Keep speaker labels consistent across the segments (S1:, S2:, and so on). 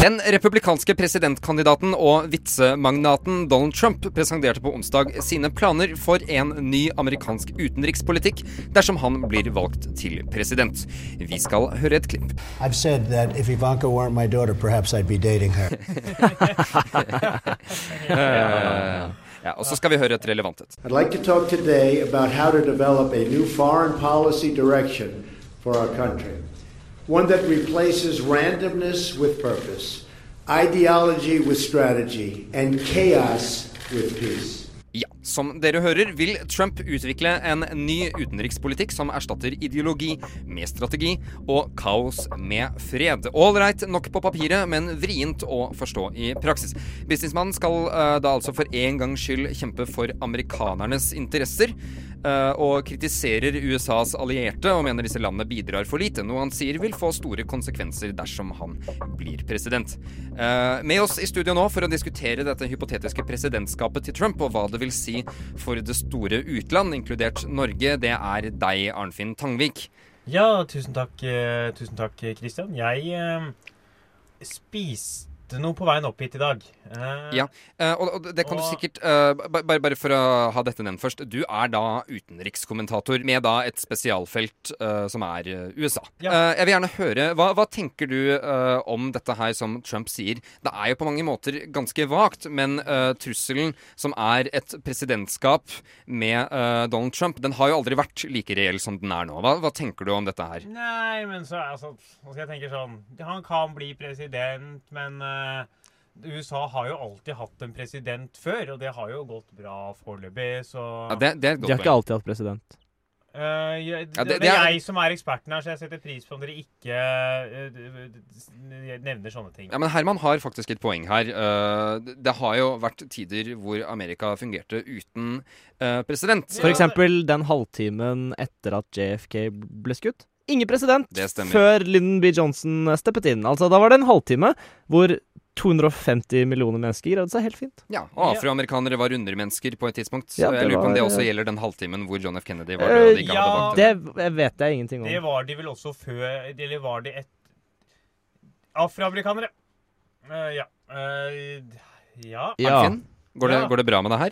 S1: Den republikanske presidentkandidaten og vitsemagnaten Donald Trump presenterte på onsdag sine planer for en ny amerikansk utenrikspolitikk dersom han blir valgt til president. Vi skal høre et klipp.
S2: I've said that if Ivanka weren't my daughter, perhaps I'd be dating her.
S1: Eh, Ja, og så skal vi høre et relevant et.
S3: I'd like to talk today about how to develop a new foreign policy direction for our country, one that replaces randomness with purpose, ideology with strategy, and chaos with peace.
S1: Ja, Som dere hører, vil Trump utvikle en ny utenrikspolitikk som erstatter ideologi med strategi og kaos med fred. Ålreit nok på papiret, men vrient å forstå i praksis. Businessmannen skal eh, da altså for en gangs skyld kjempe for amerikanernes interesser. eh, og kritiserer USAs allierte og mener disse landene bidrar for lite, noe han sier vil få store konsekvenser dersom han blir president. Eh, Med oss i studio nå for å diskutere dette hypotetiske presidentskapet til Trump og hva det vil si for det store utland, inkludert Norge, det er deg, Arnfinn Tangvik.
S4: Ja, tusen takk, eh, tusen takk, Christian. Jeg eh, spiste noe på veien opp hit i dag. Eh,
S1: Ja, eh, og, og det kan du
S4: Og-
S1: sikkert eh, ba- bare, bare for å ha dette nevnt først. Du er da utenrikskommentator med da et spesialfelt eh, som er eh, USA.
S4: Ja.
S1: Eh, jeg vil gjerne høre, hva, hva tenker du eh, om dette her som Trump sier? Det er jo på mange måter ganske vagt, men eh, trusselen som er et presidentskap med eh, Donald Trump, den har jo aldri vært like reell som den er nå. Hva, hva tenker du om dette her?
S4: Nei, men så altså, nå skal jeg tenke sånn Han kan bli president, men eh, USA har jo alltid hatt en president før, og det har jo gått bra foreløpig, så
S1: Ja, det, det er et
S5: De
S1: godt
S5: har ikke
S1: poeng.
S5: alltid hatt president.
S4: Eh, jeg,
S1: Ja, det-
S4: det,
S1: det
S4: er
S1: er-
S4: jeg som er eksperten her, så jeg setter pris på om dere ikke eh, d- d- nevner sånne ting.
S1: Ja, men Herman har faktisk et poeng her. Eh, det- Det har jo vært tider hvor Amerika fungerte uten eh, president.
S4: Ja,
S5: For
S4: det-
S5: eksempel den halvtimen etter at JFK ble skutt. Ingen president
S1: Det stemmer.
S5: før Lyndon B. Johnson steppet inn. Altså, Da var det en halvtime hvor 250 millioner mennesker greide seg helt fint.
S1: Ja, og afroamerikanere var undermennesker på et tidspunkt.
S5: Ja,
S1: Så jeg
S5: det
S1: lurer på om det
S5: var-
S1: også gjelder den halvtimen hvor John F. Kennedy var
S5: Eh,
S1: død. og de ikke
S4: ja,
S1: hadde valgt
S5: Det
S1: henne.
S5: vet jeg
S1: Sånn.
S5: ingenting
S4: Det
S5: om.
S4: var de vel også før Eller var de et Afroamerikanere. Eh, ja. Eh, ja.
S5: Ja.
S1: Arnfinn, går, det,
S4: Ja.
S1: går det bra med det her?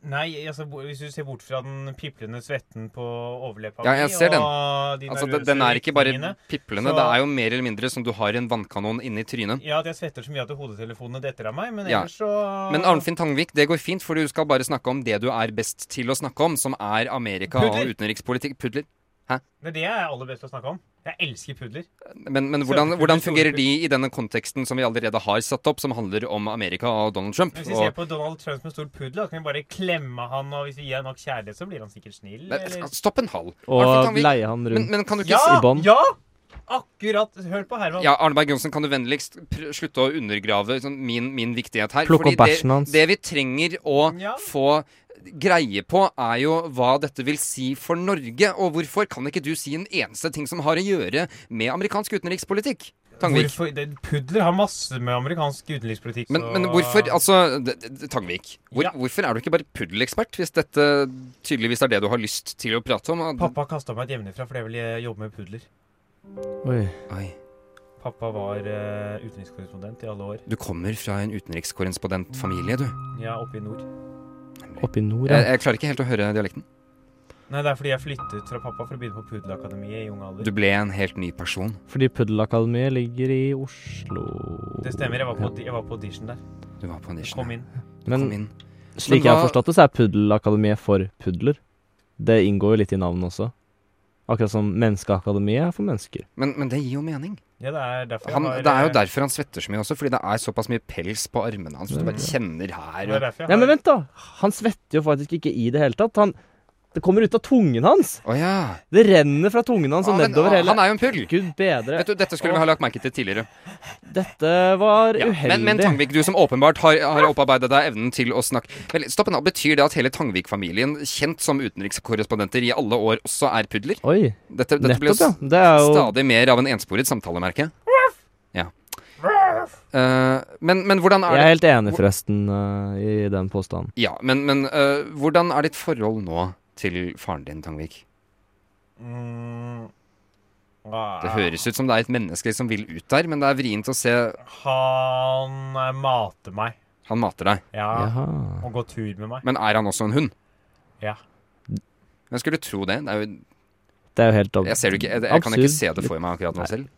S4: Nei, altså, bo- hvis du ser bort fra den piplende svetten på overleppa
S1: Ja, jeg
S4: mi,
S1: ser den.
S4: og de
S1: Altså,
S4: nervøse
S1: det, Den er ikke bare
S4: rykningene.
S1: piplende.
S4: Så-
S1: Det er jo mer eller mindre som du har en vannkanon inni trynet.
S4: Ja, at jeg svetter så mye at hodetelefonene detter av meg, men
S1: Ja.
S4: ellers så
S1: Men Arnfinn Tangvik, det går fint, for du skal bare snakke om det du er best til å snakke om, som er Amerika og
S4: Pudler.
S1: utenrikspolitikk. Pudler.
S4: Det er det jeg er aller best til å snakke om. Jeg elsker pudler.
S1: Men, men hvordan,
S4: Selvfølgelig
S1: hvordan
S4: store
S1: fungerer de i denne konteksten som vi allerede har satt opp, som handler om Amerika og Donald Trump?
S4: Hvis vi ser
S1: Og,
S4: på Donald Trump med stor puddel, da kan vi bare klemme han, og hvis vi gir han nok kjærlighet, så blir han sikkert snill.
S1: Nei,
S4: eller-
S1: stopp en hal. Arnfinn
S5: Og
S1: Tangvik,
S5: leie han
S1: men,
S5: rundt
S1: men kan du ikke
S4: Ja!
S5: i bånd.
S4: Ja! Akkurat. Hør på Herman.
S1: Ja, Arne Berg Johnsen, kan du vennligst pr slutte å undergrave sånn, min, min viktighet her?
S5: Plukke
S1: Fordi
S5: opp bæsjen hans.
S1: Det, det vi trenger å
S4: Ja.
S1: få greie på, er jo hva dette vil si for Norge. Og hvorfor kan ikke du si en eneste ting som har å gjøre med amerikansk utenrikspolitikk? Tangvik.
S4: Hvorfor, det, pudler har masse med amerikansk utenrikspolitikk
S1: Men,
S4: så-
S1: men hvorfor Altså, d- d- Tangvik. Hvor,
S4: Ja.
S1: Hvorfor er du ikke bare puddelekspert, hvis dette tydeligvis er det du har lyst til å prate om? Og-
S4: Pappa kasta meg hjemmefra fordi jeg ville jobbe med pudler.
S5: Oi.
S1: Oi.
S4: Pappa var eh, utenrikskorrespondent i alle år.
S1: Du kommer fra en utenrikskorrespondentfamilie, du.
S4: Jeg er oppe i nord.
S5: Oppe i nord,
S1: Jeg,
S5: ja.
S1: jeg klarer ikke helt å høre dialekten.
S4: Nei, det er fordi jeg flyttet fra pappa for å begynne på Pudelakademiet i ung alder.
S1: Du ble en helt ny person.
S5: Fordi Puddelakademiet ligger i Oslo.
S4: Det stemmer. Jeg var på, jeg var på audition der.
S1: Du var på
S4: Jeg
S1: audition.
S4: kom inn.
S1: Kom
S5: Men
S1: inn.
S5: slik
S1: Men
S5: jeg har
S1: hva-
S5: forstått det, så er Puddelakademiet for pudler. Det inngår jo litt i navnet også. Akkurat som Menneskeakademiet er for mennesker.
S1: Men, men det gir jo mening.
S4: Ja, det er derfor
S1: Han,
S4: jeg har
S1: det er jo
S4: eh,
S1: derfor han svetter så mye også, fordi det er såpass mye pels på armene hans. Så du bare kjenner
S4: det er
S1: her og
S4: derfor jeg
S5: Nei, men
S4: har-
S5: vent, da! Han svetter jo faktisk ikke i det hele tatt. Han, det kommer ut av tungen hans!
S1: Å ja.
S5: Det renner fra tungen hans
S1: Ah,
S5: og
S1: men,
S5: nedover
S1: ah,
S5: hele
S1: han er jo en pull.
S5: Gud bedre.
S1: Vet du, Dette skulle vi ha lagt merke til tidligere.
S5: Dette var
S1: Ja.
S5: uheldig.
S1: Men, men Tangvik, du som åpenbart har, har opparbeida deg evnen til å snakke Vel, stopp en dag. Betyr det at hele Tangvik-familien, kjent som utenrikskorrespondenter i alle år, også er pudler?
S5: Oi.
S1: Dette, dette blir jo
S5: Nettopp, ja. Det er jo
S1: Stadig mer av en ensporet samtale, merker jeg. Ja. Eh, men, men hvordan er
S5: Jeg
S1: det
S5: er helt enig, forresten, eh, i den påstanden.
S1: Ja, men, men eh, hvordan er ditt forhold nå til faren din, Tangvik?
S4: Mm. Å,
S1: Det høres ut som det er et menneske som vil ut der, men det er vrient å se
S4: Han eh, mater meg.
S1: han mater deg.
S4: Ja.
S5: Jaha.
S4: Og går tur med meg.
S1: Men er han også en hund?
S4: Ja.
S1: Jeg skulle tro det. det er jo,
S5: Det er jo helt
S1: jeg ser det ikke, jeg, jeg kan ikke
S5: Absurd.
S1: se det for meg akkurat nå selv.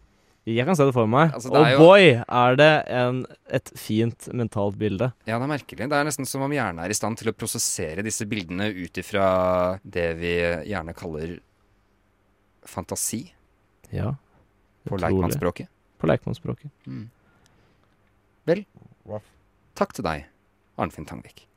S5: Jeg kan se det for meg.
S1: Altså, det
S5: og
S1: er jo-
S5: boy, er det en, et fint mentalt bilde.
S1: Ja, det er merkelig. Det er nesten som om hjernen er i stand til å prosessere disse bildene ut ifra det vi gjerne kaller fantasi
S5: Ja.
S1: på Mm.
S5: Utrolig.
S1: leikmannsspråket.
S5: På leikmannsspråket.
S1: Vel, takk til deg, Arnfinn Tangvik.